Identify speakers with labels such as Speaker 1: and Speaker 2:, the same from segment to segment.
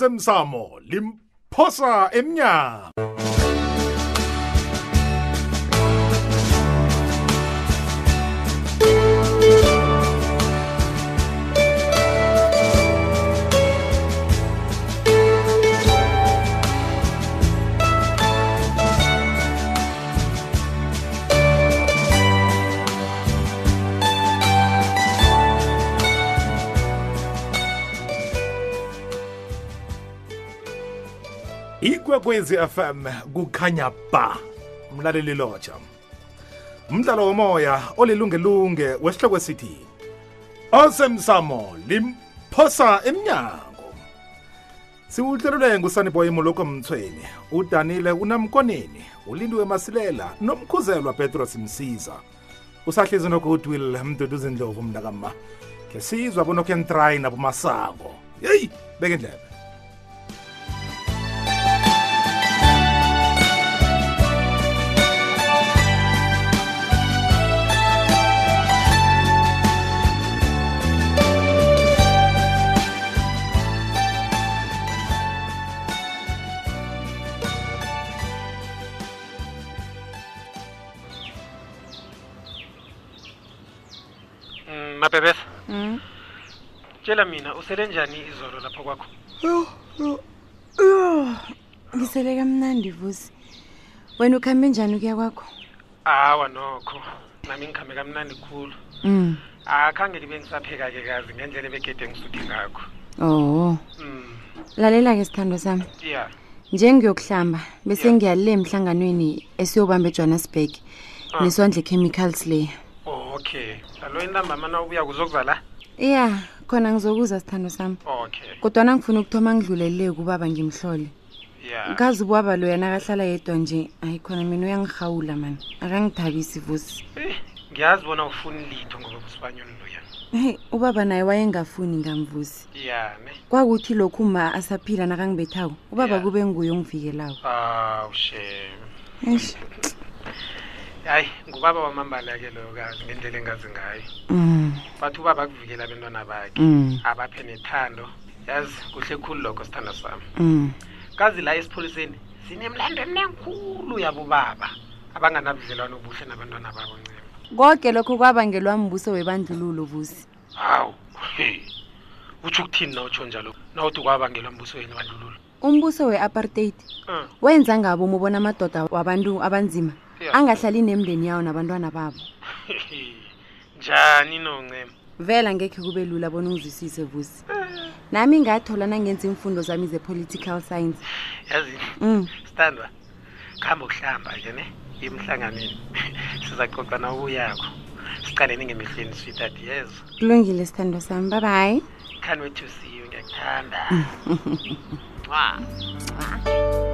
Speaker 1: ozemsamo limphosa emnyango ikwekwezi fm kukhanya ba mlaleli lotsha umdlalo womoya olilungelunge wesihloko sithi osemsamo limphosa emnyango siwuhlelule ngusaniboy moloko mthweni udanile unamkoneni ulindiwe masilela nomkhuzelwa petros msiza usahlezi nogoodwill mduduzindlovu mntakama ke sizwa bonokhentrayi nabomasango yeyi beke ndlebe
Speaker 2: Mm, mabebesa tshela mina usele njani izolo lapha kwakho
Speaker 3: Yho, yho, yho. ngisele kamnandi vusi wena ukhambe njani ukuya kwakho
Speaker 2: awa nokho nami ngikhambe kamnandi khulu
Speaker 3: mm.
Speaker 2: akhange libe ngisapheka-ke kazi ngendlela ebegede ngisuthe ngakho
Speaker 3: oh
Speaker 2: mm,
Speaker 3: lalela-ke sithando sami
Speaker 2: ya
Speaker 3: njengiyokuhlamba bese
Speaker 2: Yeah.
Speaker 3: ngiya le emhlanganweni esiyobamba ejohannesburg
Speaker 2: Ah.
Speaker 3: neswandle chemicals le
Speaker 2: oh, okay alo intambamana ubuya kuzokuza la
Speaker 3: iya khona ngizokuza sithando sami
Speaker 2: okay
Speaker 3: kodwana ngifuna ukuthoma ngidlulelele kubaba ngimhlole
Speaker 2: ya
Speaker 3: kazi ubaba lo yena akahlala yedwa nje hayi khona mina uyangirhawula mani akangithabisi vusi
Speaker 2: Eh, ngiyazi bona ufuni litho ngoba kusibanyoni loya
Speaker 3: heyi ubaba naye wayengafuni ngamvusi
Speaker 2: ya ne
Speaker 3: kwakuthi lokhu ma asaphila nakangibethako ubaba
Speaker 2: Yeah.
Speaker 3: kube nguye ongivikelako
Speaker 2: aw shame
Speaker 3: eish
Speaker 2: hayi ngubaba wamambala-ke loyo kazi ngendlela engazi ngayo
Speaker 3: mm,
Speaker 2: bathi ubaba akuvikela abentwana bakhe
Speaker 3: mm,
Speaker 2: abaphe nethando yazi kuhle khulu lokho sithanda sami
Speaker 3: mm.
Speaker 2: kazi la esipholiseni sinemlando emnenkhulu yabobaba abanganabudlelwano obuhle nabantwana babo ncema
Speaker 3: koke lokho kwabangelwa mbuso webandlululo vusi
Speaker 2: hawu he utsho ukuthini na utsho njalo nawuthi kwabangelwa mbuso wenu bandlululo
Speaker 3: umbuso we-apartheid
Speaker 2: um
Speaker 3: wenza ngabo mubona amadoda wabantu abanzima
Speaker 2: Yeah.
Speaker 3: angahlali nemndeni yawo nabantwana babo
Speaker 2: njani noncema
Speaker 3: vela ngekhe kube lula bona ungizwisise vusi nami ngathola nangenza iimfundo zami ze-political science
Speaker 2: yazi
Speaker 3: mm.
Speaker 2: standwa kuhamba ukuhlamba nje ne emhlanganweni sizacoca nawubuyakho sicaleni ngemehlweni sweetati yezo
Speaker 3: kulungile sithando sami babayi
Speaker 2: can't wait to see you ngiyakuthanda
Speaker 4: Ah,
Speaker 2: Mwah.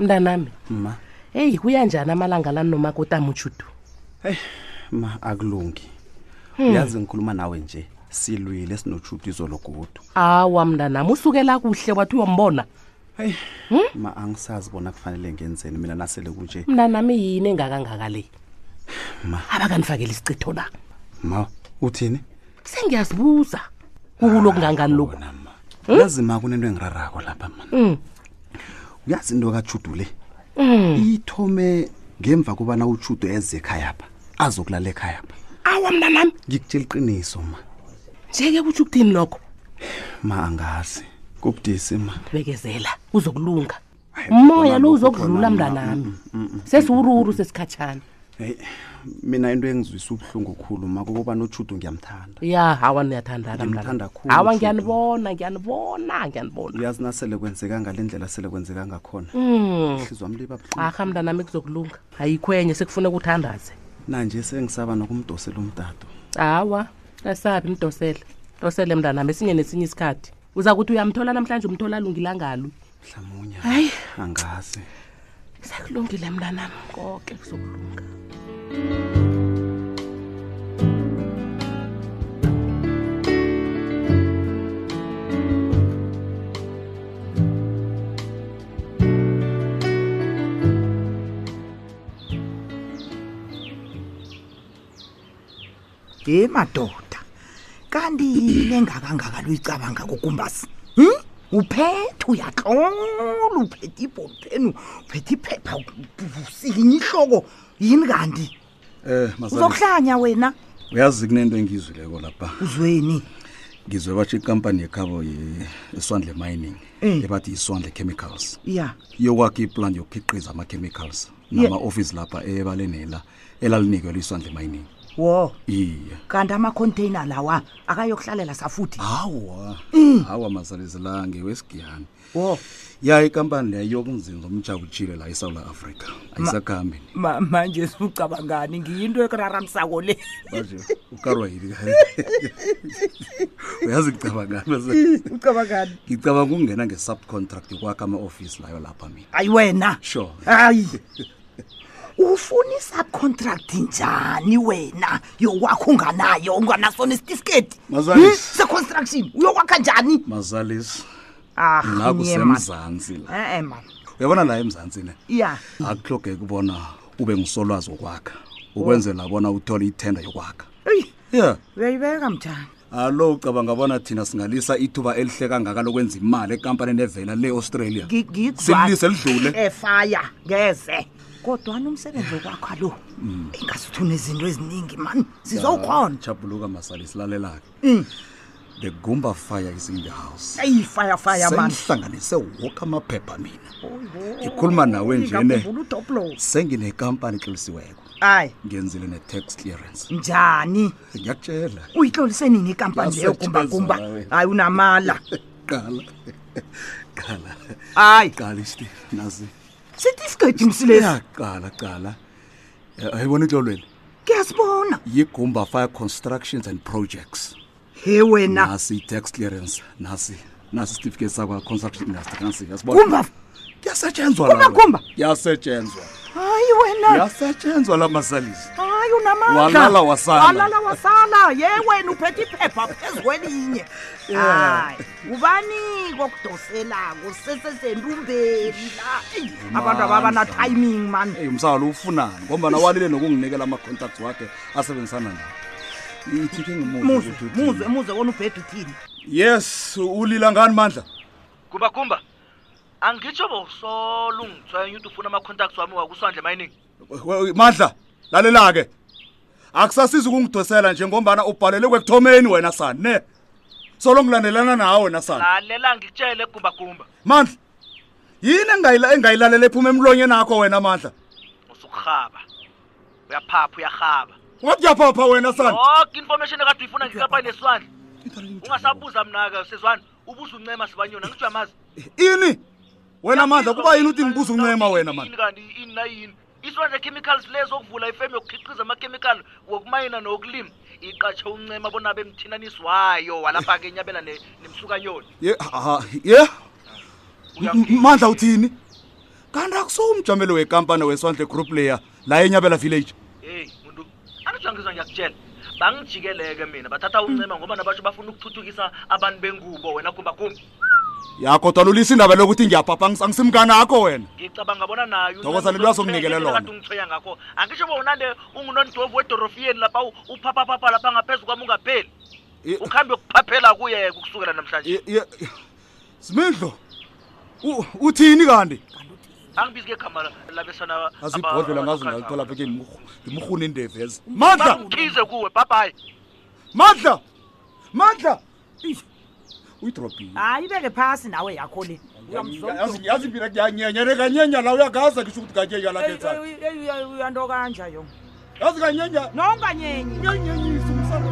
Speaker 5: mntanami
Speaker 6: ma
Speaker 5: eyi kuyanjani amalanga la nomakotamutshudu
Speaker 6: heyi ma akulungi
Speaker 5: Hmm.
Speaker 6: uyazi ngikhuluma nawe nje silwile sinotshuti izolo godu
Speaker 5: awa mntanami usukela kuhle wathi uyombona
Speaker 6: heyi
Speaker 5: Hmm?
Speaker 6: ma angisazi bona kufanele ngenzeni mina nasele kunje
Speaker 5: mntanami yini engakangaka le
Speaker 6: Ma.
Speaker 5: abakanifakela isicitho la
Speaker 6: ma uthini
Speaker 5: sengiyazibuza kukulo kungangani loku
Speaker 6: Ah, Bona, ma.
Speaker 5: Hmm?
Speaker 6: uyazi ma kunento engirarako lapha mana
Speaker 5: Mm.
Speaker 6: uyazi into katshudu le
Speaker 5: Hmm.
Speaker 6: ithome ngemva kobana utshudu eze ekhayapha azokulala ekhayapha
Speaker 5: awa mntanami
Speaker 6: ngikutshela iqiniso ma
Speaker 5: njeke kutsho ukuthini lokho
Speaker 6: ma angazi kubudisi ma
Speaker 5: bekezela kuzokulunga
Speaker 6: Hayi,
Speaker 5: umoya lo
Speaker 6: khona lokho,
Speaker 5: uzokudlula
Speaker 6: khona, ma.
Speaker 5: mntanami
Speaker 6: Mm,
Speaker 5: sesiwuruwuru sesikhatshana
Speaker 6: heyi mina into engizwisa ubuhlungu khulu ma kokobana utshudu ngiyamthanda
Speaker 5: ya hawa niyathandana
Speaker 6: Ngimthanda
Speaker 5: mntanami.
Speaker 6: khulu
Speaker 5: hawa
Speaker 6: uJudu.
Speaker 5: ngiyanibona ngiyanibona ngiyanibona
Speaker 6: uyazi nasele kwenzeka ngale ndlela sele kwenzeka ngakhona
Speaker 5: Mm.
Speaker 6: ihlizwa mli
Speaker 5: aha mntanami kuzokulunga ayikhwenye sekufuneka uthandaze
Speaker 6: nanje sengisaba nokumdosela umtato
Speaker 5: hawa asabi mdosele mdosele mntanami esinye nesinye isikhathi uza kuthi uyamthola namhlanje umthola alungilangalwi
Speaker 6: mhlamunye
Speaker 5: Hayi.
Speaker 6: angazi
Speaker 5: sekulungile mntanami konke kuzokulunga
Speaker 7: ye madoda kanti yini engakangaka luyicabanga kukumbasi hmm? uphethe uyatlola uphethe ibholpeni uphethe iphepha usinye ihloko yini kanti
Speaker 6: Eh mazalisa
Speaker 7: uzokuhlanya wena
Speaker 6: uyazi kunento engizwileko lapha.
Speaker 7: uzweni
Speaker 6: Ngizwe bathi inkampani yekhabo ye- yeswandle mining
Speaker 7: Mm.
Speaker 6: ebathi iswandle chemicals.
Speaker 7: ya
Speaker 6: yokwakha iplan yokukhiqiza ama-chemicals
Speaker 7: Ye-
Speaker 6: nama-ofisi lapha ebalenela elalinikelwe iswandle mining
Speaker 7: wo
Speaker 6: iye
Speaker 7: kanti amacontainer lawa akayokuhlalela safuthi
Speaker 6: hawa hawa mazalizilange wesigiyani
Speaker 7: wo
Speaker 6: ya ikampani leyo yokunzinza umjabutshile la esouth africa ayisakhambi ni.
Speaker 7: Ma- manje sucabangani ngiyinto ekuraramisako le
Speaker 6: baje ukarwa yili uyazi ngicabangani
Speaker 7: ucabangani
Speaker 6: ngicabanga ukungena nge-subcontract yokwakha ama-ofisi layo lapha mina
Speaker 7: ayi wena
Speaker 6: sure
Speaker 7: hayi ufuna isubcontract njani wena yokwakho unganayo unganasona isitifiketi
Speaker 6: Mazalisi.
Speaker 7: Hmm? se-construction uyokwakha njani
Speaker 6: mazalisi
Speaker 7: Ah,
Speaker 6: la
Speaker 7: nye man.
Speaker 6: kusemzantsi la
Speaker 7: Eh, eh, man
Speaker 6: uyabona la emzantsi le
Speaker 7: ya
Speaker 6: akuhlogeki kubona ube ngusolwazi wokwakha ukwenzela bona uthole ithenda yokwakha
Speaker 7: eyi
Speaker 6: ya
Speaker 7: uyayibeka mtshana
Speaker 6: alo ucabanga bona thina singalisa ithuba elihle kangaka lokwenza imali enkampanini evela le australia sililise lidlule
Speaker 7: efaya E, ngeze kodwana umsebenzi wokwakha lo ingasuthi unezinto eziningi mani sizowukhona
Speaker 6: chapuluka masalisi lalelake
Speaker 7: Mm.
Speaker 6: the gumba fire is in the house
Speaker 7: eyi faya faya mani
Speaker 6: sengihlanganise woke amaphepha mina ngikhuluma nawe njene
Speaker 7: udoplo
Speaker 6: senginekampani exelisiweko
Speaker 7: hayi
Speaker 6: ngenzile ne-tax clearance
Speaker 7: njani
Speaker 6: ngiyakutshela
Speaker 7: uyitlolise nini ikampani leyo gumbagumba
Speaker 6: Ngiyasetshezwa, wena.
Speaker 7: hayi unamala
Speaker 6: qala qala
Speaker 7: hayi
Speaker 6: qala isiti nazi
Speaker 7: sitifiketi msilesi
Speaker 6: yaqala qala Eh, ayibona inhlolweni
Speaker 7: kuyasibona
Speaker 6: yigumba fire constructions and projects
Speaker 7: he wena
Speaker 6: nasi i-tax clearance nasi nasi isitifiketi sakwa-construction industry nasi yasibona
Speaker 7: gumba
Speaker 6: kuyasetshenzwa
Speaker 7: Gumba,
Speaker 6: lawe.
Speaker 7: gumba.
Speaker 6: kuyasetshenzwa
Speaker 7: hayi wena
Speaker 6: kuyasetshenzwa la masalisi
Speaker 7: hayi unamandla
Speaker 6: Walala wasala.
Speaker 7: walala wasala ye wena uphethe iphepha phezu kwelinye hayi ubani kokudoselako usesesendumbeni la Eyi, abantu ababana-timing mani
Speaker 6: eyi msalo ufunani ngombana walile nokunginikela ama-contacts wakhe asebenzisana nawo ithike ngimuze
Speaker 7: muzwe
Speaker 6: ukuthi uthini.
Speaker 7: muzwe muzwe wona ubheda uthini
Speaker 6: yes ulila ngani mandla
Speaker 4: gumba gumba angitsho bowusola ungithwenya ukuthi ufuna ama-contacts wami wakuswandle mining
Speaker 6: We- mandla lalela-ke akusasiza ukungidosela njengombana ubhalele kwekuthomeni wena sani ne solo ngilandelana nawe wena sani
Speaker 4: lalela ngikutshele gumba gumba
Speaker 6: mandla yini engayila- engayilalela iphuma emlonyeni akho wena mandla
Speaker 4: usukurhaba uyaphapha uyarhaba
Speaker 6: wakuyaphapha wena sani
Speaker 4: yoke Oh, information ekade uyifuna ngekampani yeswandle ungasabuza mnaka sezwane ubuza uncema sibanyoni angitsho yamazi
Speaker 6: ini wena mandla kuba yini uthi ngibuza uncema wena
Speaker 4: Yini
Speaker 6: mandla
Speaker 4: kanti ini nayini iswandle chemicals lezo okuvula ifemu yokukhiqiza amakhemikhali wokumayina nowokulima iqatshe uncema bona bemthinanisi wayo walapha ke nyabela ne- nemsukanyoni
Speaker 6: ye ha- ye? M-
Speaker 4: Uyangizwa.
Speaker 6: mandla uthini kanti akusowumjameli wekampani weswandle group layer la enyabela village
Speaker 4: heyi muntu anijwangizwa ngiyakutshela bangijikeleke mina bathatha uncema ngoba nabasho bafuna ukuthuthukisa abantu bengubo wena gumbagumba
Speaker 6: yakodwa lulisa indaba lokuthi ngiyaphapha angis- angisimkanakho wena
Speaker 4: ngicabanga bona nayo
Speaker 6: Thokoza, lelo azokunikela lona.
Speaker 4: ungithweya ngakho angisho uba unande ungunondovu wedorofiyeni lapha u- uphaphapapha lapha ngaphezu kwami ungapheli
Speaker 6: Ye-
Speaker 4: ukuhambe ukuphaphela kuyeke ukusukela namhlanje
Speaker 6: Ye- ye- ye- smidlo u- uthini kanti
Speaker 4: angibizi ke gama la- labesana
Speaker 6: azibhodlela ngazo ngalithola lapha ke ngimrhuni indevezi mandla
Speaker 4: bakhize kuwe babhayi
Speaker 6: mandla mandla uyidrobhile
Speaker 8: Ah,
Speaker 7: hayi ibeke phasi nawe yakho le Uyamzonda.
Speaker 6: yazi mina ngiyanyenyane kanyenya la uyagaza ngisho ukuthi kanyenya
Speaker 8: Eh,
Speaker 7: Eyi,
Speaker 6: lakhethayo
Speaker 7: eyi, eyi, eyi, uyanto kanja yo
Speaker 6: yazi kanyenya
Speaker 7: nonganyenye
Speaker 6: uyanyenyisa umsana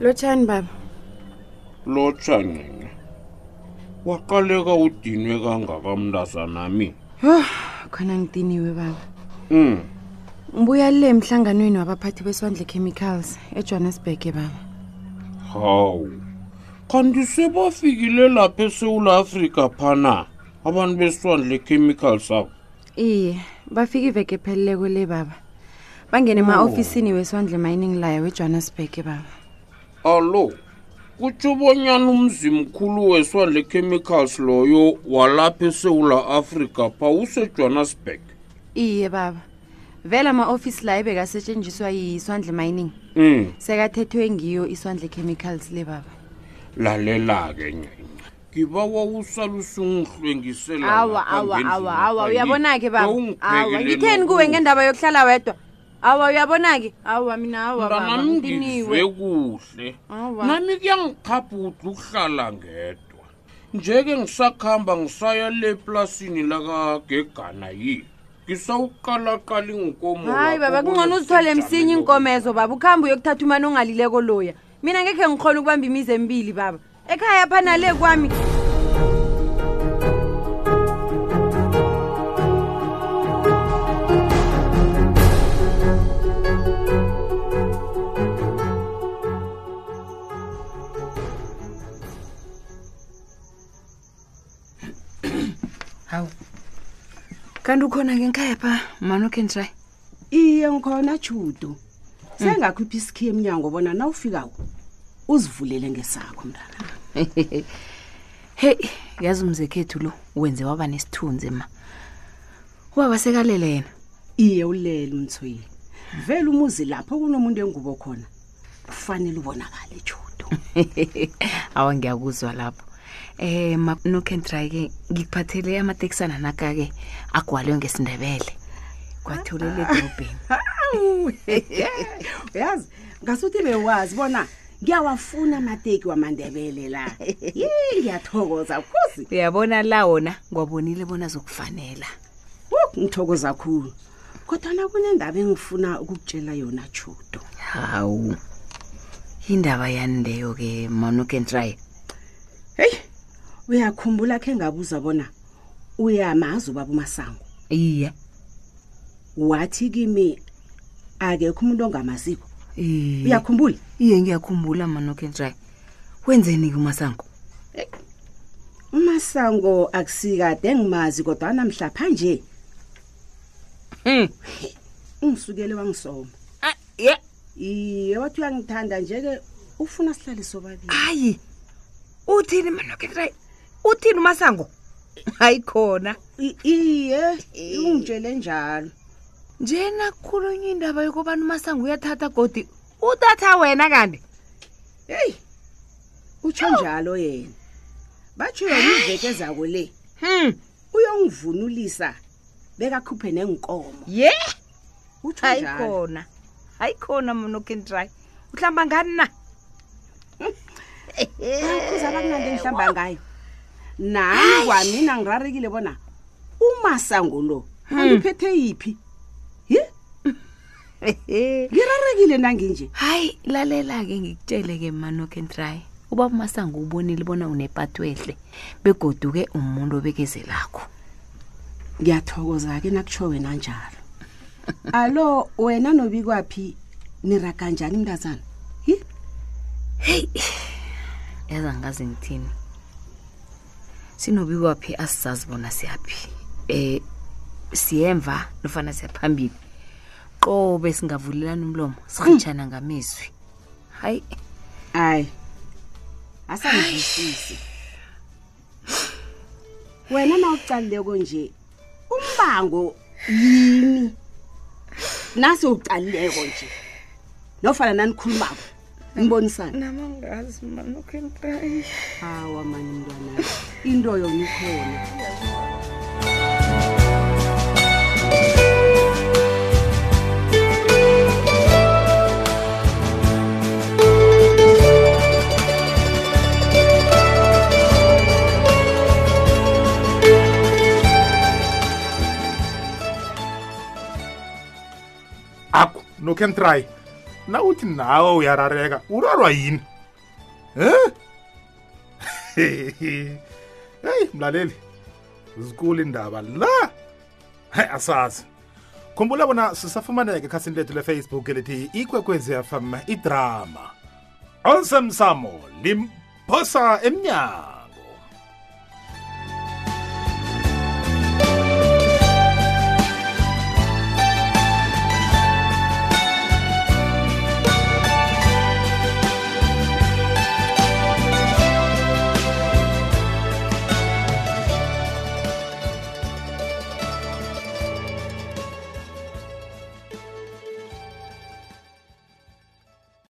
Speaker 3: lotshani baba
Speaker 9: lotsha ncinci waqaleka udinwe kangaka mntasanami
Speaker 3: oh khona ngidiniwe baba
Speaker 9: um
Speaker 3: ngibuya le emhlanganweni wabaphathi beswandle chemicals ejohannesburg baba
Speaker 9: hawu kanti sebafikile lapha esewula afrika phana abantu beswandle chemical sabo
Speaker 3: iye bafika iveke epheleleko le baba bangene ema-ofisini weswandle mining laya wejohannesburg baba
Speaker 9: alo kutsho bonyana umzimkhulu weswandle chemicals loyo walapha esewula afrika pha usejohannesburg
Speaker 3: iye baba vele ama-ofisi la ebekasetshenziswa yiswandle mining
Speaker 9: um
Speaker 3: sekathethwe ngiyo iswandle chemicals le baba
Speaker 9: lalela-ke ncinci ngibawa usalusungihlwengisela
Speaker 3: awa awa awa awa uyabona-ke baba awa ngitheni kuwe ngendaba yokuhlala wedwa awa uyabona-ke awa mina awa baba
Speaker 9: mntanam
Speaker 3: ngidiniwe
Speaker 9: ndive kuhle
Speaker 3: Awa.
Speaker 9: nami kuyangiqhabhudla ukuhlala ngedwa njeke ngisakuhamba ngisaya le plasini lakagegana yini ngisawuqalaqala inkomo
Speaker 3: hayi
Speaker 9: lapho
Speaker 3: baba kungcono uzithole msinye iinkomezo baba ukuhambe uyokuthatha umani ongalileko loya mina ngekhe ngikhona ukubamba imizi emibili baba ekhaya phana le kwami hawu kanti ukhona ngenkhaya pha manokhe ntry
Speaker 8: iye ngikhona
Speaker 7: Hmm.
Speaker 8: judu sengakhipha isikhiye emnyango bona nawufikako uzivulele ngesakho mntana
Speaker 10: heyi yazi umzekhethu lo wenze waba nesithunzi ma ubaba sekalele yena
Speaker 8: iye ulele umthoyile vele umuzi lapho kunomuntu engubo khona kufanele ubonakale judu
Speaker 10: awa ngiyakuzwa lapho um nokentrayi-ke ngikuphathele amatekisana naka-ke agwalwe ngesindebele kwatholela edorobheni
Speaker 8: Ah, Awu, uyazi ngasuthi bewazi bona ngiyawafuna amateki wamandebele la ye ngiyathokoza khosi
Speaker 10: uyabona la wona ngwabonile bona zokufanela
Speaker 8: Wu, ngithokoza khulu kodwana kunendaba engifuna ukukutshela yona judu
Speaker 10: hawu indaba yani leyo-ke manokentrayi
Speaker 8: heyi uyakhumbula khe ngabuza bona uyamazi ubaba umasango
Speaker 10: iye
Speaker 8: wathi kimi akekho umuntu ongamaziko
Speaker 10: iye.
Speaker 8: uyakhumbula
Speaker 10: iye ngiyakhumbula manokentrayi wenzeni-ke umasango
Speaker 8: umasango akusikade ngimazi kodwa namhlapha nje
Speaker 10: Hmm.
Speaker 8: ungisukele wangisoma
Speaker 10: Ah, ye
Speaker 8: iye wathi uyangithanda nje-ke ufuna sihlale sobabili
Speaker 10: hayi uthini manoketrayi uthini umasango hayi khona
Speaker 8: I- iye
Speaker 10: Eh.
Speaker 8: ungitshele njalo
Speaker 10: njena khulunya indaba yokubana umasango uyathatha godi uthatha wena kanti
Speaker 8: heyi utsho njalo yena batsho yona iveke zako le
Speaker 10: hmm
Speaker 8: uyongivunulisa bekakhuphe nenkomo
Speaker 10: ye
Speaker 8: utsho
Speaker 10: hayi
Speaker 8: njalo
Speaker 10: khona hayi khona mnokentrayi uhlamba ngani na
Speaker 8: Eh, kuzaba kunanto engihlamba ngayo nami kwamina ngirarekile bona umasango lo
Speaker 10: Hmm.
Speaker 8: angiphethe yiphi ye ngirarekile nanginje
Speaker 10: hayi lalela-ke ngikutshele-ke manokentrayi ubaba umasango ubonile bona unepatwehle begoduke umuntu obekezelakho
Speaker 8: ngiyathokoza ke nakutsho wena njalo alo wena nobikwaphi niraga njani mntazana hi
Speaker 10: yazi angazi ngithini sinobikwaphi asizazi bona siyaphi um siyemva nofana siyaphambili qobe singavulelani umlomo sirhitshana ngamezwi hayi
Speaker 8: hayi asangizwisisi wena nawucalileko nje umbango yini nase ucalileko nje nofana nanikhulumako nibonisana nama ngazi manokentray hawa mani mntwana into yona ikhona
Speaker 1: akho nokentry na uthi nawe uyarareka urarwa yini Eh? em heyi mlaleli zikulu indaba la hayi asazi khumbula bona sisafumaneka ekhasini lethu lefacebook elithi ikwekwezi fm idrama osemsamo limphosa emnyango